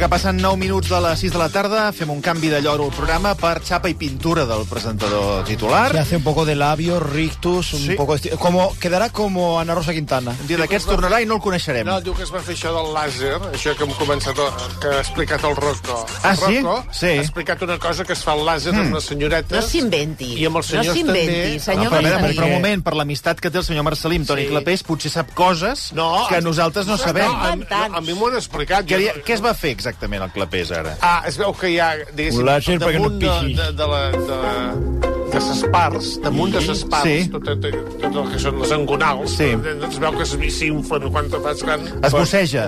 que passen 9 minuts de les 6 de la tarda. Fem un canvi de lloro al programa per xapa i pintura del presentador Se titular. hace un poco de labios, rictus, un Sí. poco... esti- Como, quedará como Ana Rosa Quintana. Un dia d'aquests tornarà i no el coneixerem. No, diu que es va fer això del làser, això que hem començat, a, que ha explicat el Rocco. Ah, el sí? Rocco Sí. ha explicat una cosa que es fa el làser Hmm. amb les senyoretes. No s'inventi. I amb els No senyors s'inventi, també. senyor però, a veure, Castaner. per un moment, per l'amistat que té el senyor Marcelí amb Toni Sí. Clapés, potser sap coses No, que nosaltres no sabem. No, a, no, a mi m'ho han explicat. Què, li- què es va fer exactament el Clapés ara? Ah, es veu que hi ha, diguéssim, Un làser perquè no et de, pixis. de, de, la, de, de ses parts, damunt de ses parts, Sí. tot, tot, tot el que són les engonals, doncs Sí. es veu que s'inflen quan te fas gran. Es bosseja,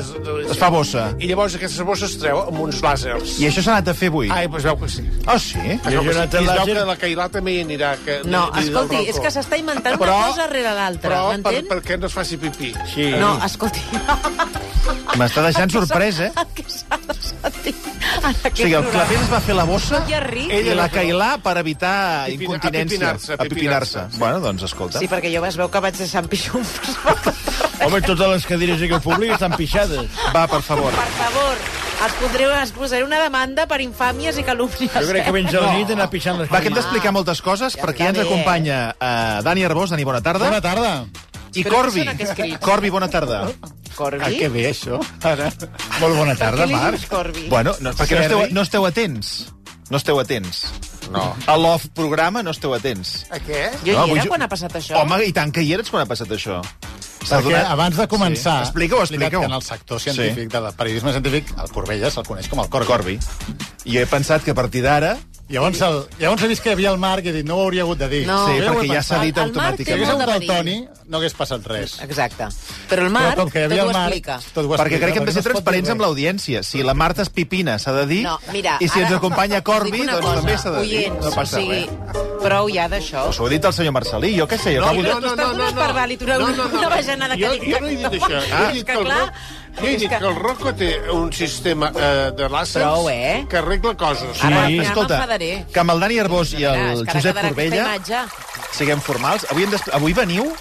es fa bossa. I llavors aquestes bosses es treu amb uns làsers. I això s'ha anat a fer avui. Ai, doncs veu que sí. Oh, sí? Es veu que sí. Jonathan I es veu Làser- que la Cailà també hi anirà. Que, No, li- li del escolti, racó. és que s'està inventant una cosa rere l'altra, però per, m'entén? perquè no es faci pipí. Sí. No, escolti. M'està deixant sorpresa. El que s'ha de sentir en O aquest sigui, el programa. Clapés es va fer la bossa Tot i és ric. i la Cailà per evitar Apipina- incontinència. apipinar-se, apipinar-se. Apipinar-se. Bueno, doncs escolta. Sí, perquè jo es veu que vaig deixar en pixums. Home, totes les cadires que públic estan pixades. Va, per favor. Per favor, es, podré, es posaré una demanda per infàmies i calúmnies. Jo crec que eh? vens a la nit anar pixant les Va, que hem cadires. d'explicar moltes coses, perquè ja ens està bé. acompanya eh, Dani Arbós. Dani, bona tarda. Bona tarda. I Però Corbi. això no que escrits. Corbi, bona tarda. Corbi? Ah, que bé, això. Ara. Molt bona Què tarda, li dius, Marc. Corbi? Bueno, no, perquè no esteu, Serri. no esteu atents. No esteu atents. No. A l'off programa no esteu atents. A Eh, què? Jo No, hi vull era jo- quan ha passat això. Home, i tant que hi eres quan ha passat això. S'ha Perquè abans de començar... Sí. Explica-ho, he explicat explica-ho. Que en el sector científic, sí. del periodisme científic, el Corbella se'l coneix com el Corbi. Corbi. I he pensat que a partir d'ara... Llavors, el, llavors he vist que hi havia el Marc i he dit, no ho hauria hagut de dir. No. sí, Jo ho he perquè ja s'ha pensat. dit El- el Marc Si té hagués automàticament. molt hagut de el Toni, no hagués passat res. Exacte. Però el Però Marc, com que hi havia tot el ho Marc, explica. tot ho explica. Perquè crec que hem de ser perquè no es pot transparents dir amb l'audiència. Si la Marta es pipina, s'ha de dir. No, mira, I si ara- ens acompanya us Corbi, dic una doncs cosa, també s'ha de dir. Oients, No passa o sigui, res. Prou ja d'això. S'ho ha dit el senyor Marcelí, jo què sé. Jo acabo de- no, no, no, no, no. una, no, no, no. una bajanada que jo, dic. Jo no he dit això. eh? Ah. Jo he dit És que que el, clar, Roc- jo he és dit que- que el Rocco té un sistema eh, de làsers Prou, eh? que arregla coses. Ara, Sí. ja Escolta, m'enfadaré. que amb el Dani Arbós i el Veràs, que ara Josep quedarà aquesta Corbella imatge. siguem formals. Avui, hem des... Avui veniu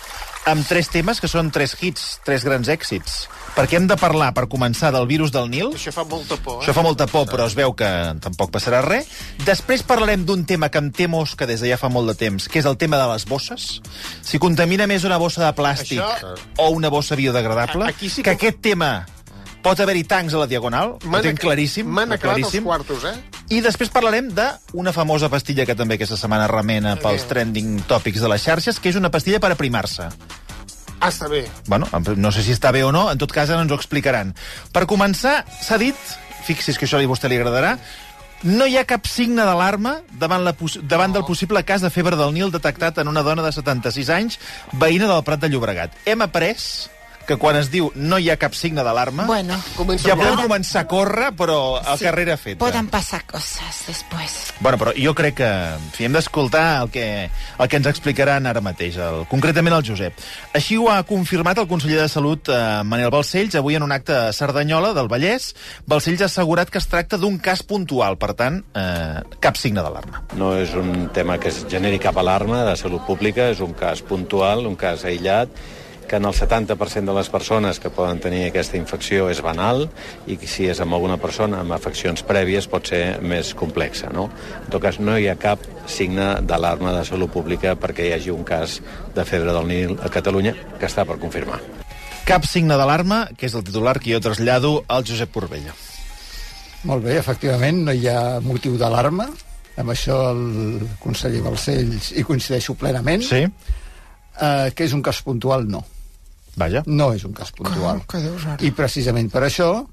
amb tres temes que són tres hits, tres grans èxits. Perquè hem de parlar, per començar, del virus del Nil. Això fa molta por, Això eh? fa molta por, però es veu que tampoc passarà res. Després parlarem d'un tema que em té mosca des de ja fa molt de temps, que és el tema de les bosses. Si contamina més una bossa de plàstic Això- o una bossa biodegradable, A- aquí sí que... que- aquest tema pot haver-hi tancs a la diagonal, ho tinc ac- claríssim. M'han ho acabat els claríssim. quartos, eh? I després parlarem d'una famosa pastilla que també aquesta setmana remena pels trending tòpics de les xarxes, que és una pastilla per aprimar-se. Ah, està bé. Bueno, no sé si està bé o no, en tot cas ara ens ho explicaran. Per començar, s'ha dit, fixi's que això a vostè li agradarà, no hi ha cap signe d'alarma davant, la pos- davant del possible cas de febre del Nil detectat en una dona de 76 anys, veïna del Prat de Llobregat. Hem après que quan es diu no hi ha cap signe d'alarma, Bueno, Comença ja amb la- podem començar a córrer, però el sí, carrer era fet. Poden passar coses després. Bueno, però jo crec que en fi, hem d'escoltar el, que, el que ens explicaran ara mateix, el, concretament el Josep. Així ho ha confirmat el conseller de Salut, eh, Manel Balcells, avui en un acte a Cerdanyola, del Vallès. Balcells ha assegurat que es tracta d'un cas puntual, per tant, eh, cap signe d'alarma. No és un tema que es generi cap alarma de salut pública, és un cas puntual, un cas aïllat, que en el 70% de les persones que poden tenir aquesta infecció és banal i que si és amb alguna persona amb afeccions prèvies pot ser més complexa. No? En tot cas, no hi ha cap signe d'alarma de salut pública perquè hi hagi un cas de febre del Nil a Catalunya que està per confirmar. Cap signe d'alarma, que és el titular que jo trasllado al Josep Corbella. Molt bé, efectivament, no hi ha motiu d'alarma. Amb això el conseller Balcells hi coincideixo plenament. Sí? Eh, que és un cas puntual, no. Vaja. No és un cas puntual. que dius ara? I precisament per això,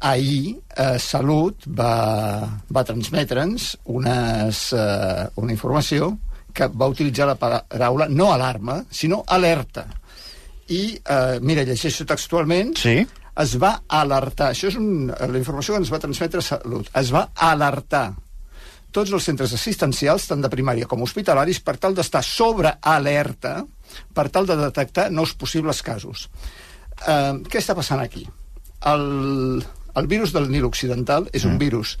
ahir eh, Salut va, va transmetre'ns unes, eh, una informació que va utilitzar la paraula no alarma, sinó alerta. I, eh, mira, llegeixo textualment Sí? es va alertar, això és un, la informació que ens va transmetre Salut, es va alertar tots els centres assistencials, tant de primària com hospitalaris, per tal d'estar sobre alerta, per tal de detectar nous possibles casos. Eh, què està passant aquí? El, el virus del Nil Occidental és Mm. un virus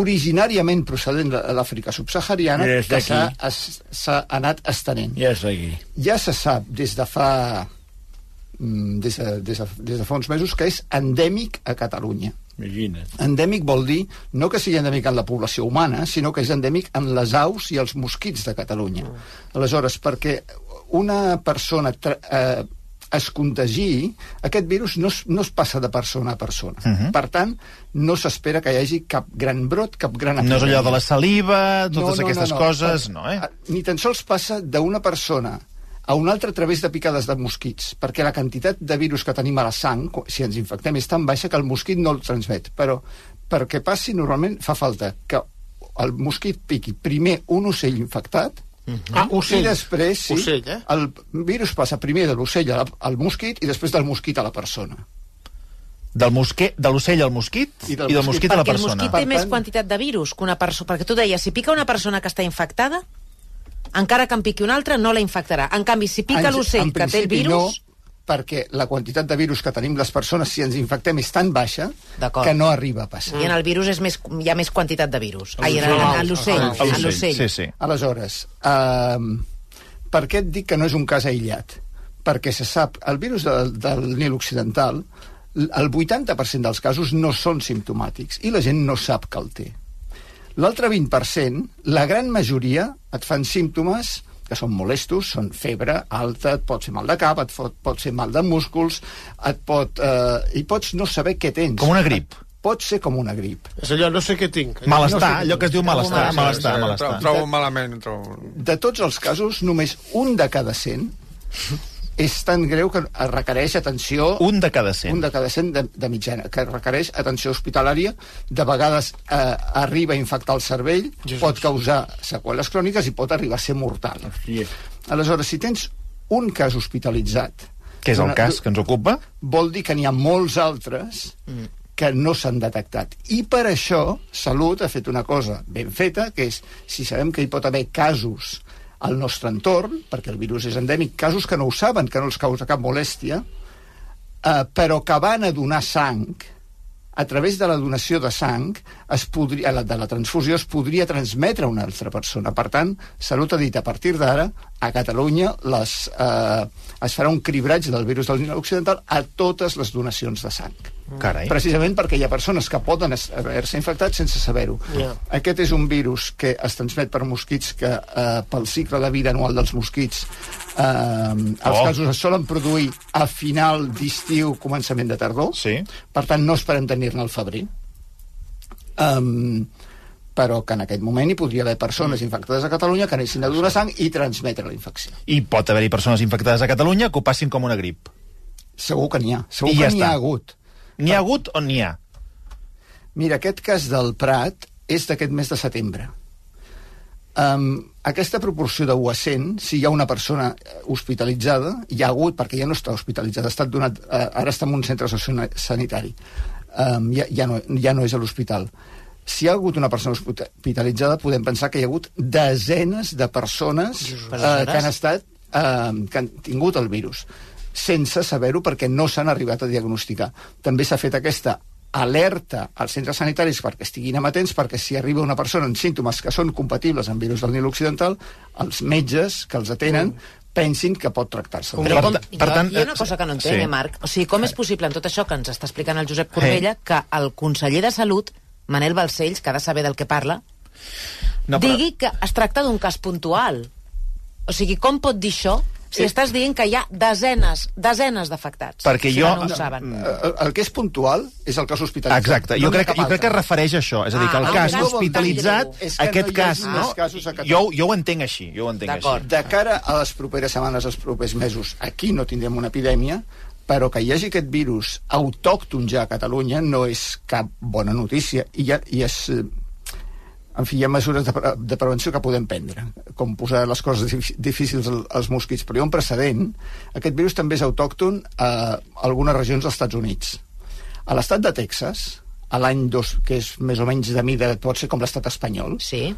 originàriament procedent de l'Àfrica subsahariana I és que d'aquí. s'ha es- s'ha anat estenent Ja és aquí. ja se sap des de fa mm, des de, des de, des de fa uns mesos que és endèmic a Catalunya. Imagina't. Endèmic vol dir no que sigui endèmic en la població humana, sinó que és endèmic en les aus i els mosquits de Catalunya. Aleshores, perquè una persona tra- eh, es contagi, aquest virus no es, no es passa de persona a persona. Mhm. Per tant, no s'espera que hi hagi cap gran brot, cap gran No és allò de la saliva, totes aquestes coses, Per- no, eh? Ni tan sols passa d'una persona a una altra a través de picades de mosquits, perquè la quantitat de virus que tenim a la sang, co- si ens infectem, és tan baixa que el mosquit no el transmet. Però perquè passi, normalment fa falta que el mosquit piqui primer un ocell infectat, Mhm. Ah, i ocell. després, sí, Ocell, eh? el virus passa primer de l'ocell a la- al mosquit i després del mosquit a la persona. Del mosquer, de l'ocell al mosquit i del, mosquit a la Perquè el persona. mosquit té Per més tant- quantitat de virus que una persona... Perquè tu deies, si pica una persona que està infectada, encara que en piqui una altra, no la infectarà. En canvi, si pica Ah, En- l'ocell en que té el principi virus... No, perquè la quantitat de virus que tenim les persones si ens infectem és tan baixa D'acord. que no arriba a passar. I en el virus és més, hi ha més quantitat de virus. Ai, en, en, en l'ocell. A En l'ocell. Sí, sí. Aleshores, eh, per què et dic que no és un cas aïllat? Perquè se sap, el virus del, del Nil Occidental, l- el 80% dels casos no són simptomàtics i la gent no sap que el té. L'altre 20%, la gran majoria, et fan símptomes que són molestos, són febre alta, et pot fer mal de cap, et fot, pot ser mal de músculs, et pot, eh, i pots no saber què tens. Com una grip. Pot ser com una grip. És allò, no sé què tinc. Malestar, allò que es diu malestar, Sí, sí, malestar, sí, malestar. tro- Trobo malament, trobo... de tots els casos, només un de cada 100 és tan greu que requereix atenció... Un de cada cent. Un de cada 100 de, de mitjana, que requereix atenció hospitalària, de vegades eh, arriba a infectar el cervell, Jesus. pot causar seqüeles cròniques i pot arribar a ser mortal. Hòstia. Aleshores, si tens un cas hospitalitzat... Que és el d'una- cas que ens ocupa. vol dir que n'hi ha molts altres que no s'han detectat. I per això Salut ha fet una cosa ben feta, que és, si sabem que hi pot haver casos al nostre entorn, perquè el virus és endèmic, casos que no ho saben, que no els causa cap molèstia, eh, però que van a donar sang, a través de la donació de sang, es podria, la- de la transfusió, es podria transmetre a una altra persona. Per tant, Salut ha dit, a partir d'ara, a Catalunya les, eh, es farà un cribratge del virus del Nil Occidental a totes les donacions de sang. Carai. Precisament perquè hi ha persones que poden es- haver-se infectat sense saber-ho. Ja. Aquest és un virus que es transmet per mosquits que, eh, pel cicle de vida anual dels mosquits, eh, els Oh. casos es solen produir a final d'estiu, començament de tardor. Sí. Per tant, no esperem tenir-ne al febrer. Um, però que en aquest moment hi podria haver persones infectades a Catalunya que anessin a donar sang i transmetre la infecció. I pot haver-hi persones infectades a Catalunya que ho passin com una grip. Segur que n'hi ha. Segur I que ja n'hi ha està. hagut. N'hi ha hagut o n'hi ha? Mira, aquest cas del Prat és d'aquest mes de setembre. Um, aquesta proporció de 1 a 100, si hi ha una persona eh, hospitalitzada, hi ha hagut, perquè ja no està hospitalitzada, ha estat donat, eh, ara està en un centre socio- sanitari, um, ja, ja, no, ja no és a l'hospital. Si hi ha hagut una persona hospita- hospitalitzada, podem pensar que hi ha hagut desenes de persones eh, que han estat eh, que han tingut el virus sense saber-ho perquè no s'han arribat a diagnosticar. També s'ha fet aquesta alerta als centres sanitaris perquè estiguin amatents, perquè si arriba una persona amb símptomes que són compatibles amb virus del Nil Occidental, els metges que els atenen pensin que pot tractar-se. Però Per Mm. com- tant, I Per jo- tant, hi ha una eh, cosa que no entenc, sí. sí. eh, Marc? O sigui, com és possible en tot això que ens està explicant el Josep Eh. Corbella que el conseller de Salut, Manel Balcells, que ha de saber del que parla, No, no, però... digui que es tracta d'un cas puntual? O sigui, com pot dir això si Eh. estàs dient que hi ha desenes, desenes d'afectats? Perquè si jo- No ho saben. eh, el- el que és puntual és el cas hospitalitzat. Exacte, jo, No n'hi ha crec, cap jo crec que es altre. refereix a això, és a dir, que el Ah, cas no vol dir hospitalitzat, que no. És que no aquest hi hagi cas, més no? casos a Catalunya. Jo, jo ho entenc així, jo ho entenc D'acord. així. De cara a les properes setmanes, els propers mesos, aquí no tindrem una epidèmia, però que hi hagi aquest virus autòcton ja a Catalunya no és cap bona notícia. I, ja, i és, eh, en fi, hi ha mesures de, pre de prevenció que podem prendre, com posar les coses dif- difícils al- als mosquits. Però hi ha un precedent. Aquest virus també és autòcton a algunes regions dels Estats Units. A l'estat de Texas, a l'any 2, que és més o menys de mida, pot ser com l'estat espanyol, Sí.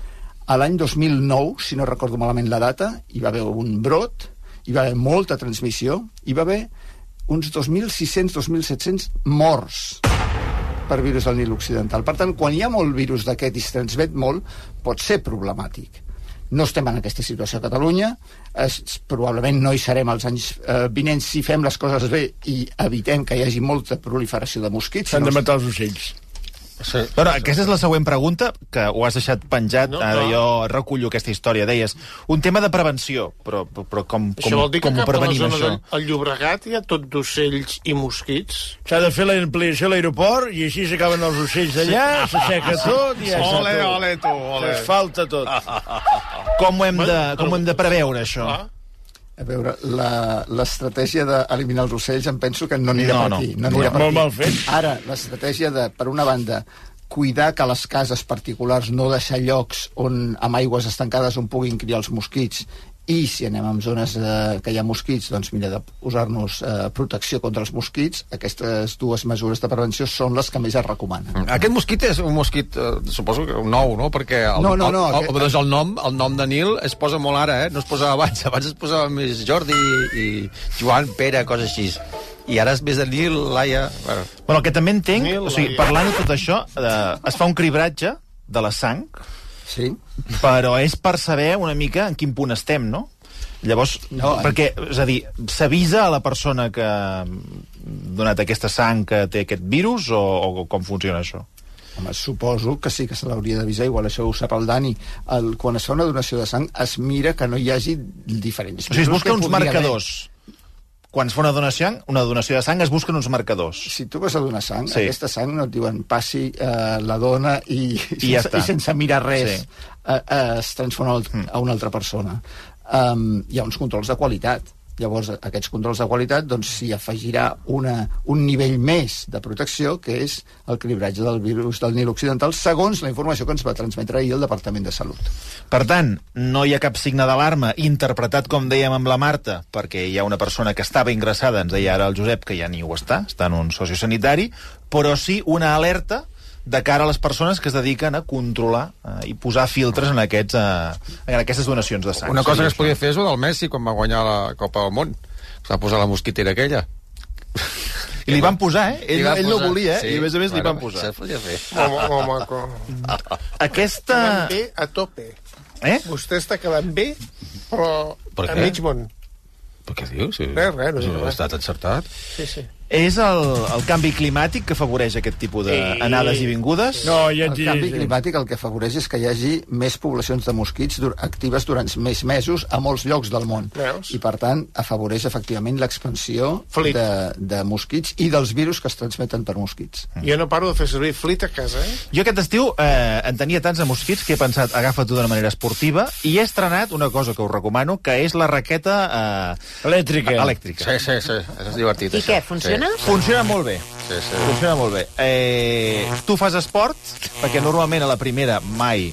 a l'any 2009, si no recordo malament la data, hi va haver un brot, hi va haver molta transmissió, hi va haver uns 2.600-2.700 morts per virus del Nil Occidental. Per tant, quan hi ha molt virus d'aquest i es transmet molt, pot ser problemàtic. No estem en aquesta situació a Catalunya, es, probablement no hi serem els anys eh, vinents si fem les coses bé i evitem que hi hagi molta proliferació de mosquits. S'han no de es- matar els ocells. Sí. No, no, aquesta és la següent pregunta, que ho has deixat penjat, No, no, ara clar. jo recullo aquesta història. Deies, un tema de prevenció, però, però com, Com, això com, vol dir que com ho cap a la prevenim, zona això? del al Llobregat hi ha tot d'ocells i mosquits. S'ha de fer l'ampliació a l'aeroport i així s'acaben els ocells d'allà, Ah, s'asseca tot i ja està Ole, tot. ole, tu, ole. S'asfalta tot. Com ho hem de, com ho hem de preveure, Ah. això? A veure, la- l'estratègia d'eliminar els ocells em penso que no anirà No, per no. aquí. No, anirà No. per Molt aquí. mal fet. Ara, l'estratègia de, per una banda, cuidar que les cases particulars no deixar llocs on amb aigües estancades on puguin criar els mosquits i si anem a zones eh, que hi ha mosquits, doncs mira, de posar-nos eh, protecció contra els mosquits, aquestes dues mesures de prevenció són les que més es recomanen. Mm. Aquest mosquit és un mosquit, eh, suposo que nou, no? Perquè el, No, no, no, El, el, aquest- el, doncs el, nom, el nom de Nil es posa molt ara, eh? No es posava abans. Abans es posava més Jordi i, i Joan, Pere, coses així. I ara és més de Nil, Laia... Bueno, Però el que també entenc, Mil, o sigui, Maria. parlant de tot això, eh, es fa un cribratge de la sang, Sí? però és per saber una mica en quin punt estem, no? Llavors, no, No, eh? perquè, és a dir, s'avisa a la persona que ha donat aquesta sang que té aquest virus o, o com funciona això? Home, suposo que sí que se l'hauria d'avisar, igual això ho sap el Dani. El, quan es fa una donació de sang es mira que no hi hagi diferents. O sigui, es virus busca que uns podria haver. marcadors. Quan es fa una donació, una donació de sang, es busquen uns marcadors. Si tu vas a donar sang, Sí. sí. aquesta sang no et diuen passi eh, la dona i, I ja sense, està. i sense mirar Sí. res Mm. sí. eh, eh, es transforma al- a una altra persona. Um, hi ha uns controls de qualitat. Llavors, a- aquests controls de qualitat doncs, s'hi afegirà una, un nivell més de protecció, que és el cribratge del virus del Nil Occidental, segons la informació que ens va transmetre ahir el Departament de Salut. Per tant, no hi ha cap signe d'alarma interpretat, com dèiem, amb la Marta, perquè hi ha una persona que estava ingressada, ens deia ara el Josep, que ja ni ho està, està en un sociosanitari, però sí una alerta de cara a les persones que es dediquen a controlar eh, i posar filtres en, aquests, eh, en aquestes donacions de sang. una cosa que es Seria podia fer és el Messi quan va guanyar la Copa del Món. S'ha posar la mosquitera aquella. això. I li van posar, eh? Ell, Li van ell no posar. volia, eh? Sí. I a més a més li Bueno, van posar. Això es podia fer. Home, home, maco. Aquesta... Van bé a tope. Eh? Vostè està quedant bé, però Per a què? mig món. Però què dius? Res, res, no dic Ha res. estat encertat. Sí, sí. És el, el canvi climàtic que afavoreix aquest tipus d'anades i vingudes? No, ja et El canvi diré... climàtic el que afavoreix és que hi hagi més poblacions de mosquits dur- actives durant més mesos a molts llocs del món. Veus? I, per tant, afavoreix efectivament l'expansió Flit. de, de mosquits i dels virus que es transmeten per mosquits. Jo no paro de fer servir flit a casa, eh? Jo aquest estiu eh, en tenia tants de mosquits que he pensat, agafa-t'ho d'una manera esportiva, i he estrenat una cosa que us recomano, que és la raqueta eh, Elèctrica. elèctrica. Sí, sí, sí. És divertit, I això. què, funciona? Sí, Funciona molt bé. sí. sí. Funciona molt bé. Eh, tu fas esport, perquè normalment a la primera mai,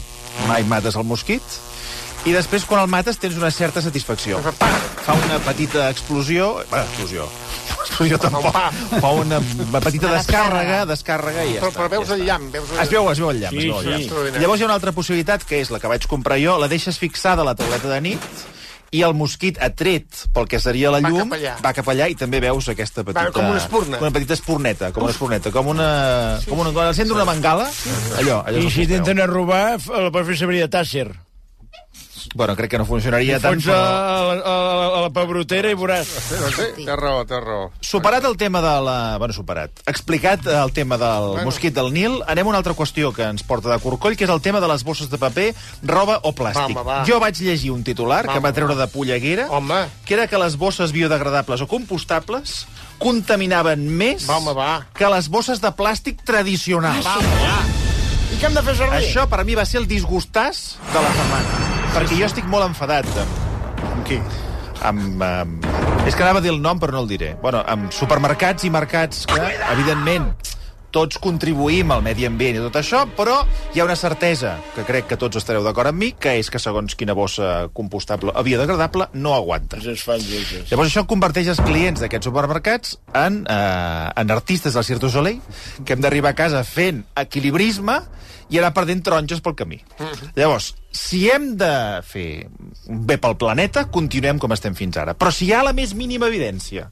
mai mates el mosquit, i després, quan el mates, tens una certa satisfacció. Fa una petita explosió... Bé, explosió. Explosió tampoc. Fa una petita descàrrega, descàrrega i ja Però, està. però veus el llamp, veus el Es veu, es veu el llamp. Sí, es veu el sí. llamp. Extraordinari. Llavors hi ha una altra possibilitat, que és la que vaig comprar jo, la deixes fixada a la tauleta de nit, i el mosquit atret pel que seria la Va llum cap allà. va cap allà i també veus aquesta petita... com una espurna. Una petita espurneta, com una espurneta, com una... Com una, quan encendre una bengala, allò, allò I és el si que es veu. t'intenten robar, f- el pots fer servir de tàsser. Bueno, crec que no funcionaria tant, Fons a, a, però... a, a la pebrotera i veuràs. Sí, doncs sí, té raó, té raó. Superat el tema de la... Bueno, superat. Explicat el tema del bueno. mosquit del Nil, anem a una altra qüestió que ens porta de corcoll, que és el tema de les bosses de paper, roba o plàstic. Vamos, va. Jo vaig llegir un titular que em va Vamos, treure de polleguera, Home. que era que les bosses biodegradables o compostables contaminaven més Vamos, va. que les bosses de plàstic tradicionals. I què hem de fer servir? Això per mi va ser el disgustàs de la setmana. Perquè jo estic molt enfadat amb... Amb qui? Amb, amb... És que anava a dir el nom, però no el diré. Bueno, amb supermercats i mercats que, evidentment, tots contribuïm al medi ambient i tot això, però hi ha una certesa, que crec que tots estareu d'acord amb mi, que és que segons quina bossa compostable o biodegradable no aguanta. Es fan lluites. Llavors això converteix els clients d'aquests supermercats en, eh, en artistes del Cirque du Soleil, que hem d'arribar a casa fent equilibrisme i anar perdent taronges pel camí. Mhm. Llavors, si hem de fer un bé pel planeta, continuem com estem fins ara. Però si hi ha la més mínima evidència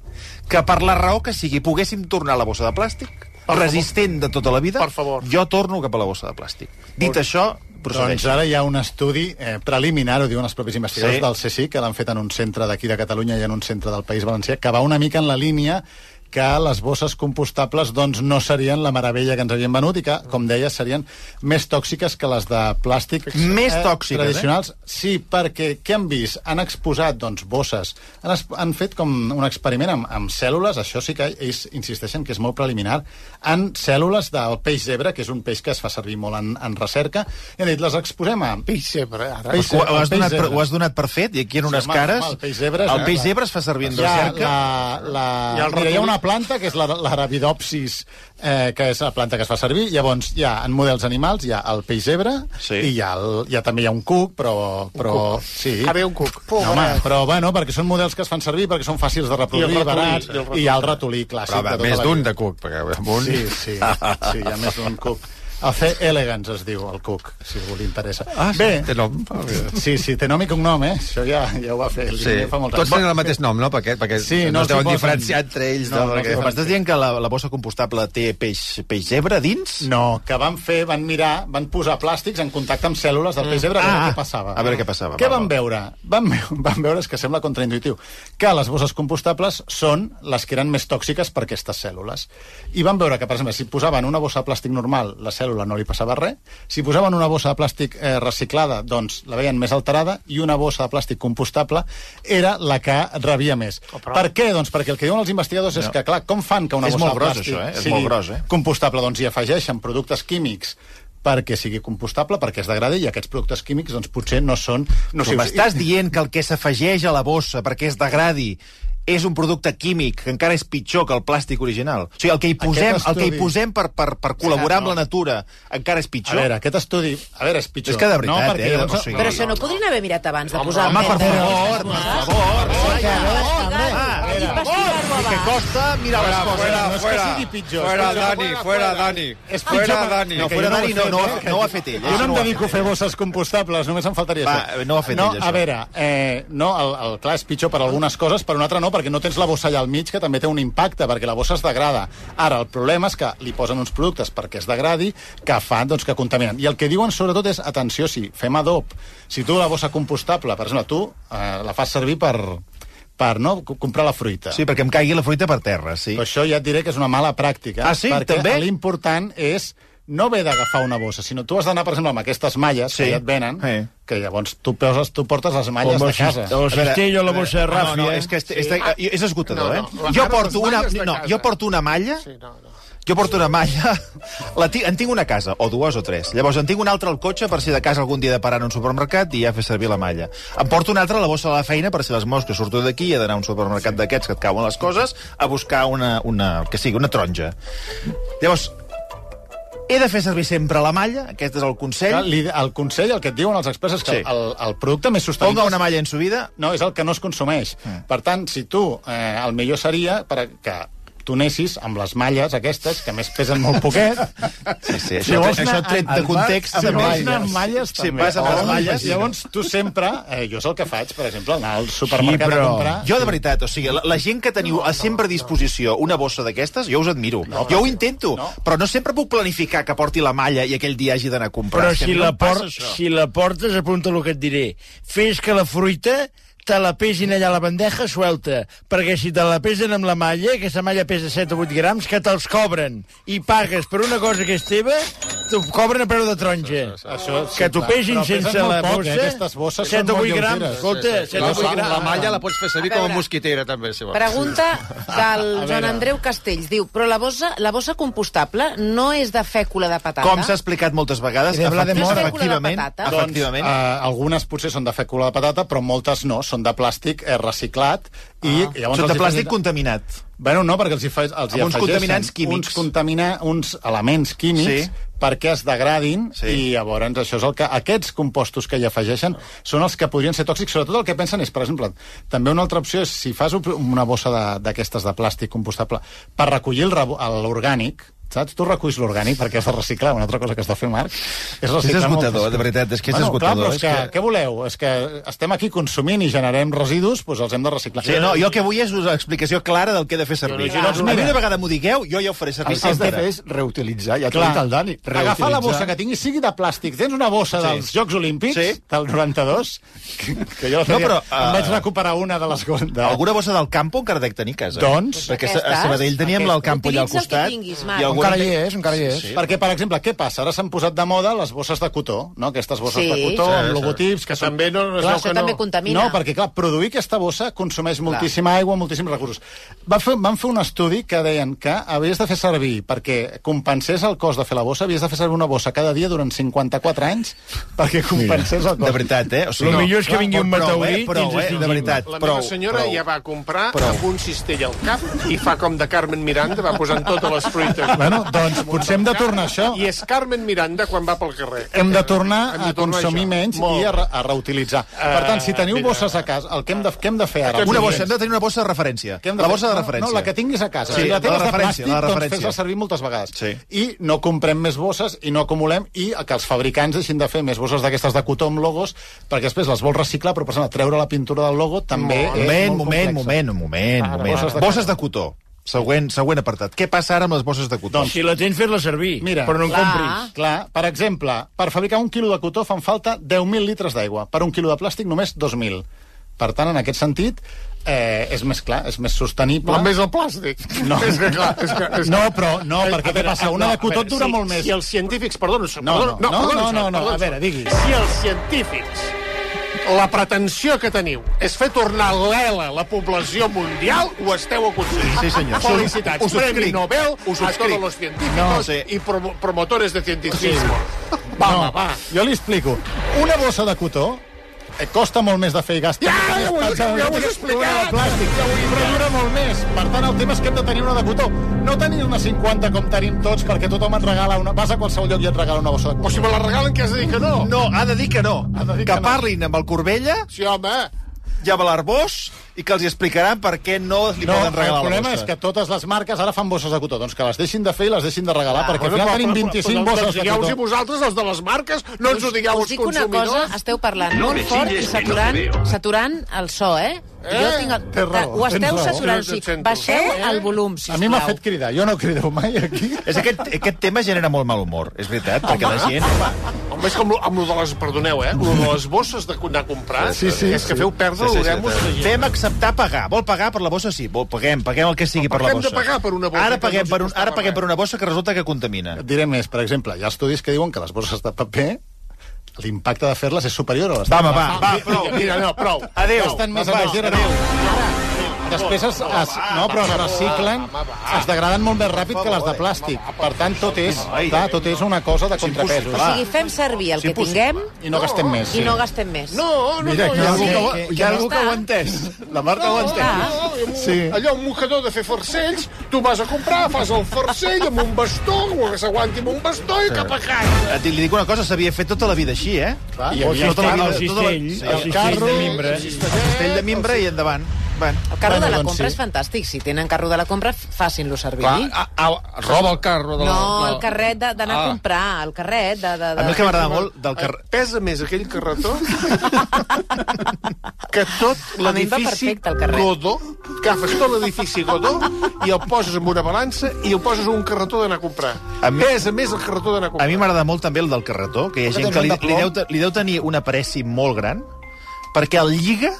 que per la raó que sigui poguéssim tornar a la bossa de plàstic, resistent de tota la vida, Per favor. jo torno cap a la bossa de plàstic. Dit això, procedeix. Doncs ara hi ha un estudi eh, preliminar, ho diuen els propis Sí. investigadors sí. del CSIC, que l'han fet en un centre d'aquí de Catalunya i en un centre del País Valencià, que va una mica en la línia que les bosses compostables doncs, no serien la meravella que ens havien venut i que, com deia, serien més tòxiques que les de plàstic Més tòxiques, eh? tradicionals. Eh? Sí, perquè què han vist? Han exposat doncs, bosses, han, es, han fet com un experiment amb, amb cèl·lules, això sí que ells insisteixen que és molt preliminar, en cèl·lules del peix zebra, que és un peix que es fa servir molt en, en recerca, i han dit, les exposem a... Peix sempre, ara. Peix Ho, ho, has el peix donat per, zebra. ho has donat per fet, i aquí en unes home, cares... home, el peix zebra és- el peix zebra es fa servir en hi ha, recerca. la, la, Hi ha el mira, hi ha ratolí. una planta que és la- l'arabidopsis, eh, que és la planta que es fa servir. Llavors, hi ha, en models animals, hi ha el peix zebra, Sí. i hi ha, el, hi ha, també hi ha un cuc, però... però Sí. Ara ve un cuc. No, home, però bueno, perquè són models que es fan servir, perquè són fàcils de reproduir, ratolí, barats, i el ratolí. i hi ha el ratolí clàssic. Però va, de tota més la d'un vida. de cuc, perquè amb un... Sí, sí, sí, hi ha més d'un cuc. A fer elegants es diu el cuc, si algú li interessa. Ah, sí, Bé, té nom. Sí, sí, té nom i cognom, eh? Això ja, ja ho va fer. Sí. l'Irineu Fa molts Tots anys. tenen el mateix nom, no? Perquè, perquè Sí, no, no es deuen suposen- diferenciar entre ells. No, No, no perquè... suposen- M'estàs dient que la, la bossa compostable té peix, peix zebra a dins? No, que van fer, van mirar, van posar plàstics en contacte amb cèl·lules del peix zebra, a veure Ah, què passava. a veure què passava, Què val, van val. veure? Van, ve- van veure, és que sembla contraintuitiu, que les bosses compostables són les que eren més tòxiques per aquestes cèl·lules. I van veure que, per exemple, si posaven una bossa de plàstic normal, la cèl·lula no li passava res, si posaven una bossa de plàstic eh, reciclada, doncs la veien més alterada, i una bossa de plàstic compostable era la que rebia més. Per què? Doncs perquè el que diuen els investigadors és que, clar, com fan que una Oh, És bossa molt de gros, plàstic això, eh? És sigui molt gros, eh? compostable, doncs hi afegeixen productes químics perquè sigui compostable, perquè es degradi, i aquests productes químics doncs, potser no són Si nocius. m'estàs dient que el que s'afegeix a la bossa perquè es degradi és un producte químic que encara és pitjor que el plàstic original. O sigui, el que hi posem, Aquest el que hi estudi- posem per, per, per col·laborar amb la natura encara és A pitjor. veure, aquest estudi... A veure, és pitjor. És que de veritat, no, perquè eh, llavors- o sigui- Però això no podrien haver mirat abans de posar... Ah. Home, per merda. favor, per favor. Investigar-ho, home, investigar-ho Ah, I que abans. costa mirar les coses. no és que sigui pitjor. Fuera és pitjor. Dani, fuera Dani. És pitjor Fuera per- Dani. No, que fuera jo no Dani ho no, sé, no, eh, que- no ho ha fet ell. Jo no Això em ho ha dedico a fet fer bosses compostables, només em faltaria Va, això. no ho ha fet no, ell, això. A veure, eh, no, el, el, clar, és pitjor per algunes coses, per una altra no, perquè no tens la bossa allà al mig, que també té un impacte, perquè la bossa es degrada. Ara, el problema és que li posen uns productes perquè es degradi, que fan doncs, que contaminen. I el que diuen, sobretot, és, atenció, si fem adob, si tu la bossa compostable, per exemple, tu eh, la fas servir per per no co- comprar la fruita. Sí, perquè em caigui la fruita per terra, sí. Però això ja et diré que és una mala pràctica. Ah, sí? Perquè També? l'important és no haver d'agafar una bossa, sinó tu has d'anar, per exemple, amb aquestes malles Sí. que ja et venen, Sí. que llavors tu, poses, tu portes les malles Com de el casa. cist- el A veure, cistell o la bossa de No, Rafi, no, eh? és que este, este, ah, és esgotador, No, no, eh? la Jo cara porto, dels una, malles de no, casa. jo porto una malla Sí, no, no. Jo porto una malla, la ti en tinc una a casa, o dues o tres. Llavors en tinc una altra al cotxe per si de casa algun dia de parar en un supermercat i ja fer servir la malla. Em porto una altra a la bossa de la feina per si les mosques surto d'aquí i he d'anar a un supermercat d'aquests que et cauen les coses a buscar una, una, el que sigui, una taronja. Llavors, he de fer servir sempre la malla, aquest és el Que consell. li- El consell, el que et diuen els experts, és que Sí. el, el producte més sostenible... Ponga una malla en su vida, No, és el que no es consumeix. Mm. Per tant, si tu, eh, el millor seria per a- que tu anessis amb les malles aquestes, que a més pesen molt poquet. Sí, sí, Si això vols això anar tret de al mar, context, Si també. vols anar amb malles, Sí, també. vas amb O les amb malles, piscina. Llavors, tu sempre... Eh, jo és el que faig, per exemple, anar al supermercat Sí, a però- comprar... Jo, de veritat, o sigui, la, la gent que teniu a sempre a disposició una bossa d'aquestes, jo us admiro. jo ho intento, No. però no sempre puc planificar que porti la malla i aquell dia hagi d'anar a comprar. Però És que a si mi la, em passa por això. si la portes, apunta el que et diré. Fes que la fruita te la pesin allà a la bandeja suelta, perquè si te la pesen amb la malla, aquesta malla pesa 7 o 8 grams, que te'ls cobren i pagues per una cosa que és teva, t'ho cobren a preu de taronja. Això, sí, que t'ho clar. pesin Però pesen sense molt la poc, eh? bossa, Aquestes bosses són 7 o molt 8 grams, lleugeres. escolta, Sí, sí, sí. 7 o 8 grams. la malla la pots fer servir A com a veure. mosquitera, també, si vols. Pregunta del Joan Andreu Castells. Diu, però la bossa, la bossa compostable no és de fècula de patata? Com s'ha explicat moltes vegades, I de bla de efectivament, mora. efectivament, Doncs, eh, efectivament Doncs, eh, algunes potser són de fècula de patata, però moltes no, són de plàstic eh, reciclat. I, i llavors sota els hi Ah. plàstic posen- contaminat. Bueno, no, perquè els hi, fa, els hi Amb uns afegeixen contaminants químics. Uns, contamina, uns elements químics Sí. sí. perquè es degradin Sí. sí. i llavors això és el que... Aquests compostos que hi afegeixen són els que podrien ser tòxics. Sobretot el que pensen és, per exemple, també una altra opció és si fas un- una bossa de- d'aquestes de, plàstic compostable per recollir el rebo- l'orgànic, Saps? Tu reculls l'orgànic perquè has de reciclar. Una altra cosa que has de fer, Marc, és reciclar... esgotador, moltes de veritat, és que és bueno, esgotador, Clar, però és és que, que- que... Què voleu? És que estem aquí consumint i generem residus, doncs els hem de reciclar. Sí, no, jo el que vull és una explicació clara del que he de fer servir. no, a mi una vegada m'ho digueu, jo ja ho faré servir El que has de sempre. fer és reutilitzar, ja t'ho Clar, ha dit el Dani. agafar la reutilitzar. bossa que tinguis, sigui de plàstic. Tens una bossa Sí. sí. dels Jocs Olímpics Sí. sí. del 92, que, que jo No, no, però, però, eh, em vaig recuperar una de les... De... Alguna bossa del campo encara dec tenir a casa. Doncs, Perquè a Aquestes, Sabadell teníem aquestes. el campo allà al Utilitza el que costat. tinguis, Marc. i alguna- Encara hi és, encara hi és. Sí. Perquè, per exemple, què passa? Ara s'han posat de moda les bosses de cotó, no? Aquestes bosses Sí. de cotó, Sí, sí. amb logotips... Que també no- no es Clar, veu Això que també no. contamina. No, perquè, clar, produir aquesta bossa consumeix moltíssima aigua, moltíssims recursos. Va fer, van fer un estudi que deien que havies de fer servir, perquè compensés el cost de fer la bossa, havies de fer servir una bossa cada dia durant 54 anys perquè compensés el cost. De veritat, eh? O Lo millor és que vingui un prou, eh? meteorit i ens Prou, eh? extingim. De veritat, La prou. meva senyora prou. ja va comprar prou. amb un cistell al cap i fa com de Carmen Miranda, va posant totes les fruites. Bueno, doncs potser hem de tornar a això. I és Carmen Miranda quan va pel carrer. Hem de tornar Hem de a tornar a consumir això. menys Molt i a, bé. re- a reutilitzar. Per tant, si teniu mira. bosses a casa, el que hem de, què hem de fer ara? Ah, Una Els bossa, oients? hem de tenir una bossa de referència. Que hem La fer- bossa de no, referència. No, la que tinguis a casa. Sí, Sí, si la la tens de referència, plàstic, la doncs referència. fes-la servir moltes vegades. Sí. I no comprem més bosses i no acumulem i que els fabricants deixin de fer més bosses d'aquestes de cotó amb logos, perquè després les vols reciclar, però per exemple, treure la pintura del logo també és Moment, molt moment, complex. moment, moment, Ara, moment. bosses de Bosses de cotó. Següent, següent apartat. Què passa ara amb les bosses de cotó? Si la tens, fes-la servir, Doncs, Mira, però no en clar. compris. Clar, per exemple, per fabricar un quilo de cotó fan falta 10.000 litres d'aigua. Per un quilo de plàstic, només 2.000. Per tant, en aquest sentit, eh, és més clar, és més sostenible. Però més el plàstic. No. És que, clar, és que, Eh, és No, que... però no, perquè què passa? Una de cotó et dura si, molt més. Si els científics... Perdona, No, perdona, no, no, perdona, no, no, no, perdona, a veure, digui. Si els científics la pretensió que teniu és fer tornar l'ela la població mundial, ho esteu aconseguint. Sí, sí, senyor. Felicitats. Us subscric. Premi Nobel Us a subscric. todos los científicos No, sí. i promo promotores de cientificismo. Va, va, va. Jo li explico. Una bossa de cotó eh, costa molt més de fer i gastar. Ja, ja ho he- ja ho he explicat. De plàstic, ja ho he però dura molt més. Per tant, el tema és que hem de tenir una de cotó. No tenir una 50 com tenim tots, perquè tothom et regala una... Vas a qualsevol lloc i et regala una bossa de O cotó. si me la regalen, què has de dir que no? No, ha de dir que no. de dir que que no. parlin amb el Corbella Sí, home. i amb l'Arbós i que els hi explicaran per què no li No, el poden regalar la problema bossa. és que totes les marques ara fan bosses de cotó. Doncs que les deixin de fer i les deixin de regalar, Ah, perquè al bueno, final però- tenim però- 25 doncs bosses de Digueu-los cotó. vosaltres, els de les marques, no ens ho digueu Us els dic una cosa, consumidors. esteu parlant molt fort i saturant, saturant el so, eh? Jo tinc el... té raó, Ho esteu tens raó. saturant, Sí, sí. et sento. Baixeu Eh? el volum, sisplau. A mi m'ha fet cridar. Jo no crideu mai aquí. És aquest, aquest tema genera molt mal humor, és veritat, perquè la gent... Home, és com lo- amb lo de les... Perdoneu, eh? Lo de les bosses de anar a comprar. Sí, sí, És que sí. feu perdre Sí, sí, sí, l'oremus de gent. Fem acceptar pagar. Vol pagar per la bossa? Sí, vol, paguem, paguem el que sigui per la Però bossa. hem de pagar per una bossa Ara que no paguem, ens per un, ara costava paguem res. per una bossa que resulta que contamina. Et diré més, per exemple, hi ha estudis que diuen que les bosses de paper l'impacte de fer-les és superior a les Va, home, va, va, prou. Prou, mira, no, prou. Adéu. Estan més Va, va, energia, no. Després es, es, no, però es reciclen, es degraden molt més ràpid que les de plàstic. Per tant, tot és, clar, tot és una cosa de contrapesos. O sigui, fem servir el que tinguem I no gastem més. i no gastem més. No, no, no, hi ha algú que ho- hi ha algú que ho ha entès. La Marta ho ha entès. Sí. Allò, un mocador de fer farcells, tu vas a comprar, fas el farcell amb un bastó, o que s'aguanti amb un bastó i cap a casa. Et dic- Li dic una cosa, s'havia fet tota la vida així, eh? Clar, i Tota havia la vida, El tota la- cistell, Sí, el el cistell de mimbre. castell de mimbre i endavant. Van. El carro Bueno, de la doncs compra sí. és fantàstic. Si tenen carro de la compra, facin-lo servir. Clar, Ah, a, a, roba el carro. De la, No, de- el carret de- d'anar a Ah. comprar, el carret de... de, A mi el que de... m'agrada molt del carrer... eh, Pesa més aquell carretó que A tot mi em va l'edifici perfecte, el carrer. Godó, que agafes tot l'edifici Godó i el poses en una balança i el poses en un carretó d'anar a comprar. A mi- Pesa més el carretó d'anar a A comprar. mi m'agrada molt també el del carretó, que hi ha gent que li, li, deu, te- li deu tenir una pressi molt gran, perquè el lliga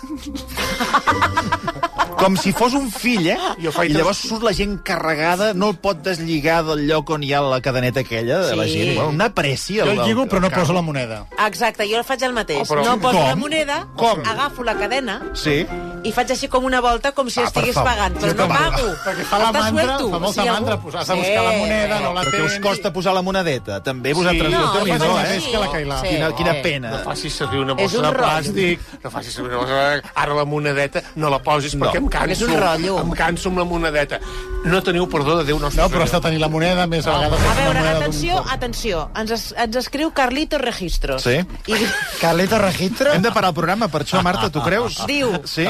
com si fos un fill, eh? Jo faig I llavors surt la gent carregada, no el pot deslligar del lloc on hi ha la cadeneta aquella de la Sí. gent. Bueno, una pressi. Jo el lligo, però no poso la moneda. Exacte, jo faig el mateix. Oh, però- No poso la Com? moneda, Com? agafo la cadena Sí. i faig així com una volta com si Ah, per estigués favor. pagant, però Sí, no com- pago. Perquè fa la Estàs mandra, suelto. fa molta Si algú- mandra, pues, has de buscar la Sí. moneda, no la Però què us tens. costa posar la monedeta? També vosaltres No, dos. jo Déu-n'hi-do, faig eh? així. que la Cailà. Sí. Quina, quina Sí. pena. No facis servir una És bossa un de rotllo. plàstic, no facis servir una bossa de... Ara la monedeta no la posis no. perquè em canso. És un rotllo. Em canso amb la monedeta. No teniu perdó de Déu nostre. No, però has de Senyor. tenir la moneda més a vegades. A has de tenir veure, la moneda d'un atenció, cop. atenció. Ens, es, ens escriu Carlito Registros. Sí. I Caleta Registro? Hem de parar el Ah, Ah. programa per això, Marta, tu creus? Diu. Sí?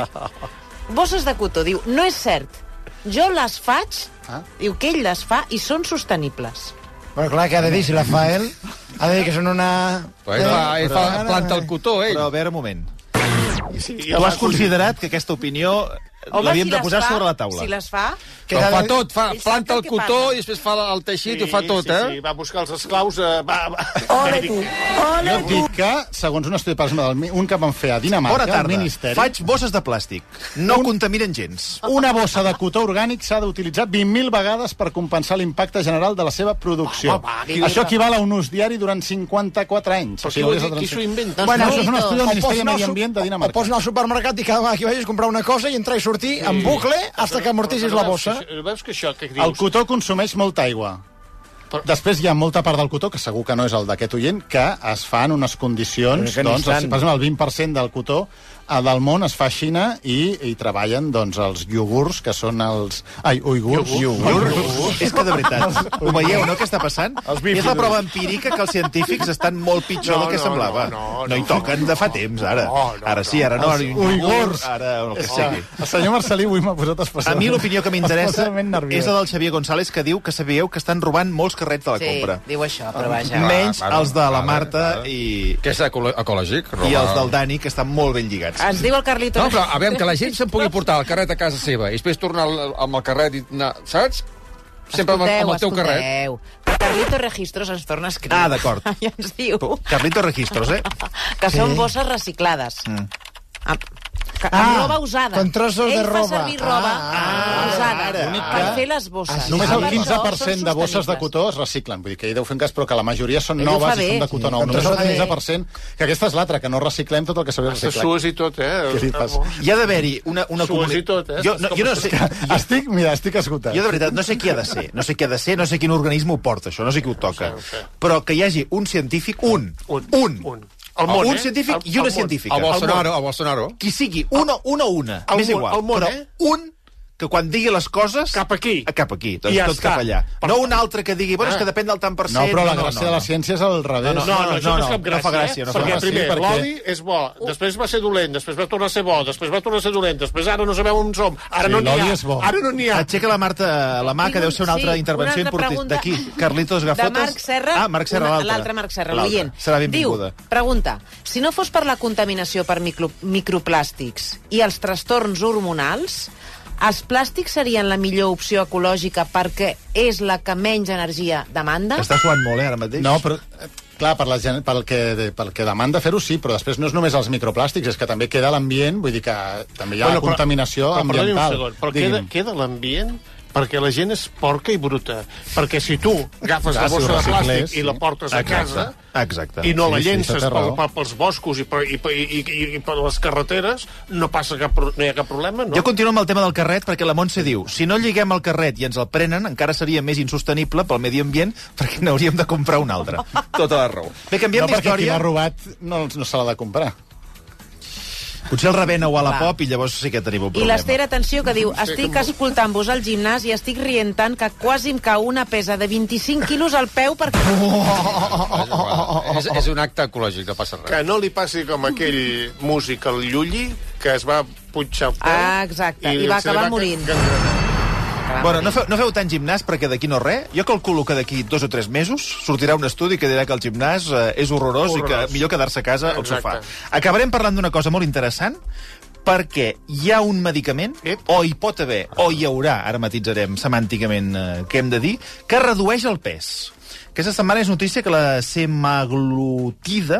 Bosses de cotó, diu, no és cert Jo les faig, Ah. diu que ell les fa, i són sostenibles. Bueno, clar, que ha de dir, si la fa ell, ha de dir que ah. són una... Bueno, Eh, fa, ell fa, Però- planta el cotó, ell. Però a veure, un moment. I si- i Tu has la- considerat que aquesta opinió Home, l'havíem si de les posar fa, sobre la taula. Si les fa... Però cada- fa tot, fa, Ell sap planta del el que cotó parla. i després fa el teixit, ho fa tot, sí, eh? Sí, va buscar els esclaus... Eh, va, va. Jo et dic que, segons un estudi per exemple, del mi- un que van fer a Dinamarca, Bona el tarda. Ministeri... Faig bosses de plàstic. No contaminen gens. Una bossa de cotó orgànic s'ha d'utilitzar 20.000 vegades per compensar l'impacte general de la seva producció. Va, va, va, que- això equival a un ús diari durant 54 anys. Però O qui sigui, ho hauries de di- qui s'ho transformar- inventa? Bueno, Doncs això és un no. estudi del O pots Ministeri de anar al Medi su- Ambient de O pots Dinamarca. anar al supermercat i cada vegada que vagis comprar una cosa i entrar i sortir sí. en bucle fins que amortissis la bossa. Veus, veus que això que dius... El cotó consumeix molta aigua. Però- Després hi ha molta part del cotó, que segur que no és el d'aquest oient, que es fa en unes condicions, Però que ni doncs, sant. si, per exemple, el 20% del cotó eh, del món es fa a Xina i hi treballen doncs, els iogurts, que són els... Ai, uigurs. Iogurts. És que de veritat, ho veieu, no, què està passant? És la prova empírica que els científics estan molt pitjor No, del que no, semblava. no, no, hi no. toquen de fa temps, ara. No, no, Ara sí, ara no. Els Ara, uigurs. Ara el que Sí. sigui. El senyor Marcelí avui m'ha posat A especialment... mi l'opinió que m'interessa especialment nerviós. és la del Xavier González, que diu que sabíeu que estan robant molts carrets de la Sí, compra. diu això, però vaja. Menys Va, va, els de la va, Marta va. i, Que és ecolo- ecològic. i els del Dani. Dani, que estan molt ben lligats. Ens diu el Carlito... No, però a veure, que la gent se'n pugui portar el carret a casa seva i després tornar al- amb el carret i anar, saps? Sempre amb, amb el teu carret. escolteu. El Carlito Registros ens torna a escriure. Ah, d'acord. I ens diu Carlitos Registros, eh? que són bosses reciclades. Amb, que, amb Ah, roba usada. con trossos Ell de roba. fa servir roba Ah, usada ara. per fer les bosses. Només el Per això Ah, són 15% de bosses de sostenibles. cotó es reciclen. Vull dir que ell deu fer un cas, però que la majoria són Ell ho fa noves i bé. són de cotó nou. Sí, Només ho el fa bé. 15%, que aquesta és l'altra, que no reciclem tot el que s'hauria de Se reciclar. sues i tot, eh? Què li passa? Hi ha d'haver-hi una, una Sues comuni- i tot, eh? Jo, no, jo no sé... Estic, mira, estic esgotat. Jo, de veritat, no sé qui ha de ser, no sé qui ha de ser, no sé quin organisme ho porta, això, no sé qui ho toca. No sé, no sé. Però que hi hagi un científic, un, Un. un, Un. El món, un eh? científic El- i una el món. científica. A El món. Bolsonaro, a Bolsonaro. Qui sigui, una, una o una, El m'és món, igual. el món, però eh? un que quan digui les coses... Cap aquí. A cap aquí, doncs I ja tot està. cap allà. Per- Ah. No un altre que digui, bueno, és que depèn del tant per cent... No, però la gràcia de la ciència és al revés. No, no, això no, és cap gràcia, no fa gràcia, eh? no fa perquè gràcia, primer perquè- l'oli és bo, després va ser dolent, després va tornar a ser bo, després va tornar a ser dolent, després ara no sabem on som, ara Sí, no n'hi l'oli ha, és bo. ara no n'hi ha. Aixeca la Marta la mà, que deu ser una altra Sí, intervenció una altra important. pregunta. D'aquí, Carlitos Gafotes. De Marc Serra. Ah, Marc Serra, una- l'altre. L'altre Marc Serra, L'altre. l'oient. Serà benvinguda. Diu, pregunta, si no fos per la contaminació per micro, microplàstics i els trastorns hormonals, els plàstics serien la millor opció ecològica perquè és la que menys energia demanda? Està suant molt, eh, ara mateix? No, però... eh, Clar, per la, gent- pel, que, de, pel que demanda fer-ho sí, però després no és només els microplàstics, és que també queda l'ambient, vull dir que també hi ha Bueno, bueno, contaminació però, perdoni ambiental. Un segon, però queda, Digui'm. queda l'ambient perquè la gent és porca i bruta. Perquè si tu agafes la Clar, si ho bossa de reciclés, plàstic i la sí. portes a casa Exacte. i no la Sí, sí, llences té pel, raó. pel, pels boscos i per, i, per- i, i, i per les carreteres, no passa cap, pro- no hi ha cap problema, no? Jo continuo amb el tema del carret perquè la Montse diu si no lliguem el carret i ens el prenen encara seria més insostenible pel medi ambient perquè n'hauríem de comprar un altre. Tota la raó. Bé, canviem No, perquè qui d'història. l'ha robat no, no se l'ha de comprar. Potser el rebena o a la Va. pop i llavors sí que tenim un I problema. l'Ester, atenció, que diu, estic escoltant-vos al gimnàs i estic rient tant que quasi em cau una pesa de 25 quilos al peu perquè... Oh, És, és un acte ecològic, no passa res. Que no li passi com aquell músic, el Llulli, que es va punxar el peu... Ah, exacte, i va se li acabar ca- morint. gangrenar. Bueno, no feu, no feu tant gimnàs perquè d'aquí no res. Jo calculo que d'aquí dos o tres mesos sortirà un estudi que dirà que el gimnàs eh, és horrorós, i que Horrorós. millor quedar-se a casa al sofà. Exacte. Acabarem parlant d'una cosa molt interessant perquè hi ha un medicament, Ep. o hi pot haver, o hi haurà, ara matitzarem semànticament eh, què hem de dir, que redueix el pes. Aquesta setmana és notícia que la semaglutida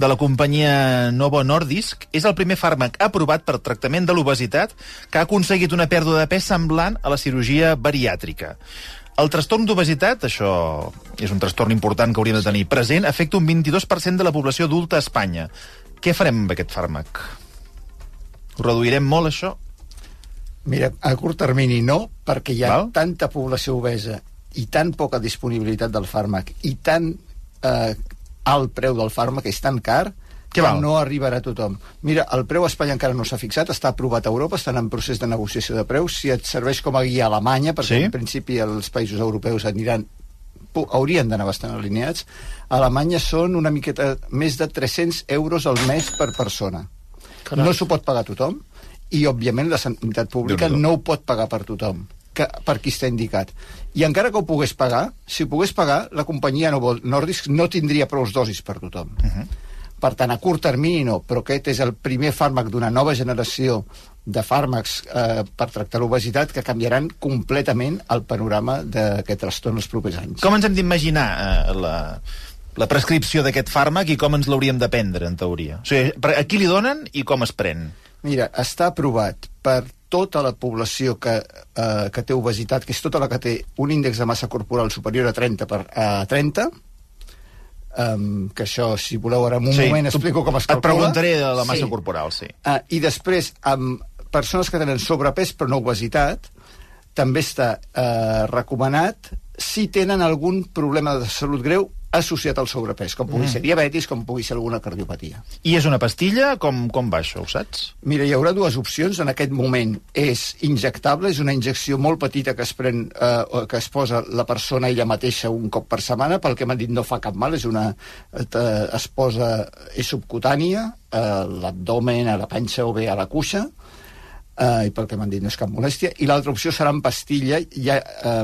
de la companyia Novo Nordisk és el primer fàrmac aprovat per tractament de l'obesitat que ha aconseguit una pèrdua de pes semblant a la cirurgia bariàtrica. El trastorn d'obesitat, això és un trastorn important que hauríem de tenir present, afecta un 22% de la població adulta a Espanya. Què farem amb aquest fàrmac? Ho reduirem molt, això? Mira, a curt termini no, perquè hi ha Val. tanta població obesa i tan poca disponibilitat del fàrmac i tan eh, alt preu del fàrmac, és tan car, Què que val? no arribarà a tothom. Mira, el preu a Espanya encara no s'ha fixat, està aprovat a Europa, estan en procés de negociació de preus, si et serveix com a guia a Alemanya, perquè Sí. sí? en principi els països europeus aniran pu- haurien d'anar bastant alineats. A Alemanya són una miqueta més de 300 euros al mes per persona. Carai. No s'ho pot pagar tothom i, òbviament, la sanitat pública Déu-n'hi-do. no ho pot pagar per tothom, que, per qui està indicat. I encara que ho pogués pagar, si ho pogués pagar, la companyia Novo Nordisk no tindria prou dosis per tothom. Uh -huh. Per tant, a curt termini no, però aquest és el primer fàrmac d'una nova generació de fàrmacs eh, per tractar l'obesitat que canviaran completament el panorama d'aquest trastorn els propers anys. Com ens hem d'imaginar eh, la, la prescripció d'aquest fàrmac i com ens l'hauríem de prendre, en teoria? O sigui, per- a qui li donen i com es pren? Mira, està aprovat per tota la població que, eh, que té obesitat, que és tota la que té un índex de massa corporal superior a 30 per a 30, um, que això, si voleu, ara en un sí, moment tu- explico com es calcula. Et preguntaré de la massa sí. corporal, sí. Uh, I després, amb persones que tenen sobrepès però no obesitat, també està uh, recomanat si tenen algun problema de salut greu associat al sobrepès, com pugui mm. ser diabetis, com pugui ser alguna cardiopatia. I és una pastilla? Com, com va això, ho saps? Mira, hi haurà dues opcions. En aquest moment és injectable, és una injecció molt petita que es, pren, eh, o que es posa la persona ella mateixa un cop per setmana. Pel que m'han dit no fa cap mal, és una, eh, es posa és subcutània, eh, a l'abdomen, a la panxa o bé a la cuixa, eh, i pel que m'han dit no és cap molèstia. I l'altra opció serà en pastilla. Hi ha, eh,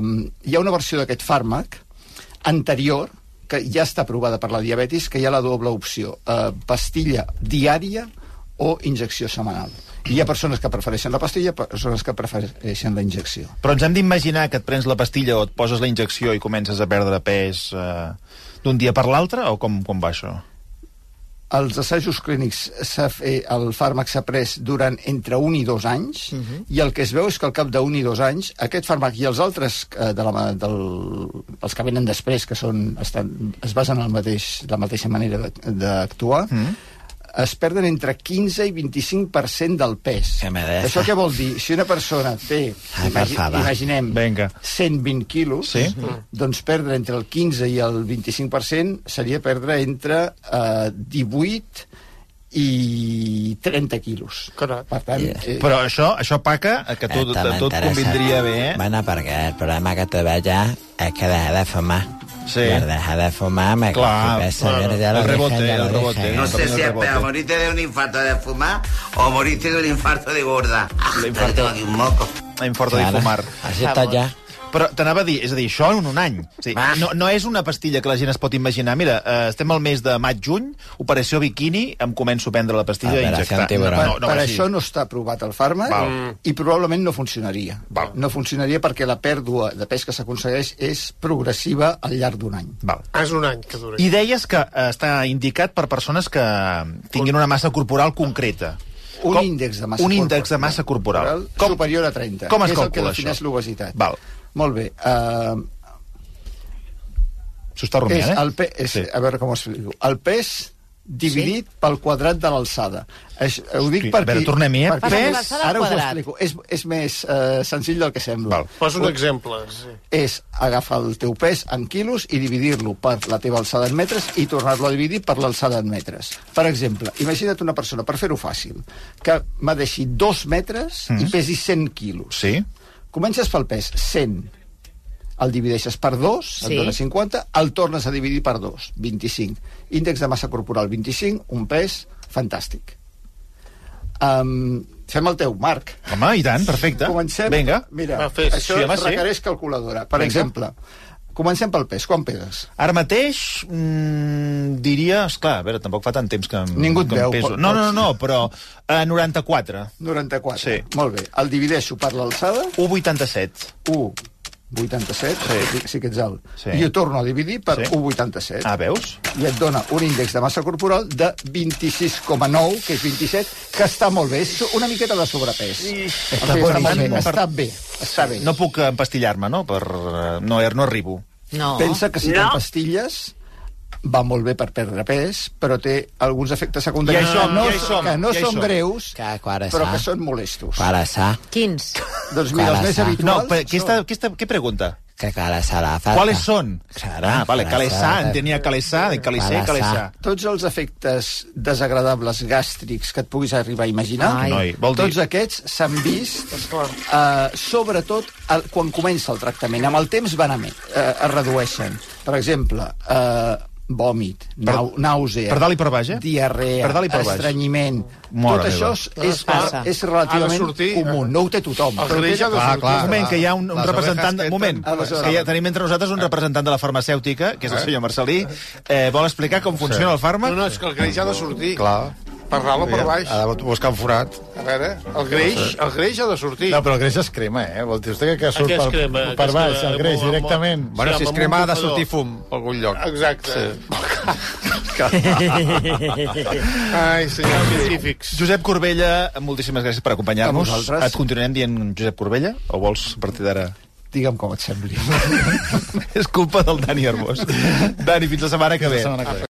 hi ha una versió d'aquest fàrmac anterior, que ja està aprovada per la diabetis, que hi ha la doble opció, eh, pastilla diària o injecció setmanal. I hi ha persones que prefereixen la pastilla, persones que prefereixen la injecció. Però ens hem d'imaginar que et prens la pastilla o et poses la injecció i comences a perdre pes eh, d'un dia per l'altre? O com, com va això? Els assajos clínics, s'ha fe- el fàrmac s'ha pres durant entre un i dos anys, uh Mhm. -huh. i el que es veu és que al cap d'un i dos anys, aquest fàrmac i els altres, eh, de la, ma- del, els que venen després, que són, estan, es basen en el mateix, la mateixa manera de- d'actuar, uh -huh. Mhm. es perden entre 15 i 25% del pes. MDF. Això què vol dir? Si una persona té, Ai, per imagi favor. Mhm. imaginem, Vinga. 120 quilos, Sí. doncs perdre entre el 15 i el 25% seria perdre entre eh, 18 i 30 quilos. Carai. Per tant, Yeah. eh, Però això, això paca, eh, que tot, a tot convindria bé, eh? Bueno, perquè el problema que te veig ja és que deja Ah, de fumar. Sí. Per dejar de fumar me Clar, claro. El rebote, el rebote. No También sé si es rebote. peor, morirte de un infarto de fumar o morirte de un infarto de gorda. Ah, L'infarto- Tengo aquí un moco. En forta de fumar. Així està ja. Però t'anava a dir, és a dir, això en un any. Sí, Va. no, no és una pastilla que la gent es pot imaginar. Mira, eh, estem al mes de maig-juny, operació biquini, em començo a prendre la pastilla i Operació injectar. antiburón. per, No, no, per va així. això no està aprovat el fàrmac Val. i probablement no funcionaria. Val. No funcionaria perquè la pèrdua de pes que s'aconsegueix és progressiva al llarg d'un any. Val. És un any que dura. I deies que eh, està indicat per persones que tinguin una massa corporal concreta. Un Com- índex de massa un índex de massa corporal. Com, superior a 30. com es és el que calcula, defineix això? l'obesitat. Val. Molt bé. Uh, S'ho està rumiant, és eh? el pe... és, sí. A veure com ho explico. El pes dividit sí? pel quadrat de l'alçada. Això- eh, Ho dic Hosti, a perquè... veure, tornem-hi, eh? Perquè Pes- pes, ara us ho quadrat. explico. És, és més eh, senzill del que sembla. Val. Posa un exemple. Sí. És agafar el teu pes en quilos i dividir-lo per la teva alçada en metres i tornar-lo a dividir per l'alçada en metres. Per exemple, imagina't una persona, per fer-ho fàcil, que m'adeixi dos metres mm. i pesi 100 quilos. Sí. Comences pel pes, 100. El divideixes per 2, sí. Sí. et dona 50, el tornes a dividir per 2, 25. Índex de massa corporal, 25, un pes, fantàstic. Um, fem el teu, Marc. Home, i tant, perfecte. Comencem... Vinga. Mira, Va, fes. això Sí, sí, home, sí. requereix calculadora. Per Vinga. exemple, comencem pel pes. Quan peses? Ara mateix mm, diria... Esclar, a veure, tampoc fa tant temps que, em- Ningú et que em veu, peso. pot- No, no, pots- no, però eh, a 94. 94. Sí. Molt bé. El divideixo per l'alçada, 1,87. 1, 87, sí, sí que ets alt. Sí. I ho torno a dividir per Sí. sí. 1,87. Ah, veus? i et dona un índex de massa corporal de 26,9, que és 27, que està molt bé. És una miqueta de sobrepès. Està, està, molt bé, boníssim. està bé, està bé. No puc empastillar-me, no? Per... eh, No, no arribo. No. Pensa que si no. pastilles va molt bé per perdre pes, però té alguns efectes secundaris Ja hi som, que no, ja hi som, que no ja hi són som. greus, Que quara però sa. que són molestos. Quara sa. Quins? Doncs mira, Quara els més sa. No, habituals... però què, està, són- què, està, què pregunta? Que cara sa la falta. ¿Cuáles son? Claro, ah, vale, claro, calesá, claro. entenia calesá, de calesé, Calesá. calesá. Tots els efectes desagradables gàstrics que et puguis arribar a imaginar, Ai. Noi, vol dir- tots aquests s'han vist, eh, sobretot el, quan comença el tractament. Amb el temps van a, me- eh, es redueixen. Per exemple, eh, vòmit, nau, nàusea... Per dalt i per baix, eh? Diarrea, Per dalt i per baix. estranyiment... Mare tot això meva. és, és, Passa. és relativament Ha de sortir, eh? comú, no ho té tothom. Els Però greix té- ha de Clar, sortir. clar, un moment, que hi ha un, un Les representant... ovejas Un moment, que entren. que ja tenim entre nosaltres un representant de la farmacèutica, que és el senyor Marcelí. Eh, vol explicar com funciona el No, fàrmac? no, és que el greix ha de sortir. Clar. Per dalt o per baix. Ha de buscar un forat. A veure, el greix, el greix ha de sortir. No, però el greix es crema, eh? Vol dir vostè que, que surt Aquest per, crema, per aquest baix, crema, el greix, molt, directament. molt. Bueno, Sí, si es amb un crema ha de bufador. sortir fum per algun lloc. Exacte. Gràcies. Ai, senyors científics. Josep Corbella, moltíssimes gràcies per acompanyar-nos. A vosaltres. Et continuarem dient Josep Corbella? O vols a partir d'ara... Digue'm com et sembli. és culpa del Dani Arbós. Dani, fins la setmana que ve. La setmana que ve.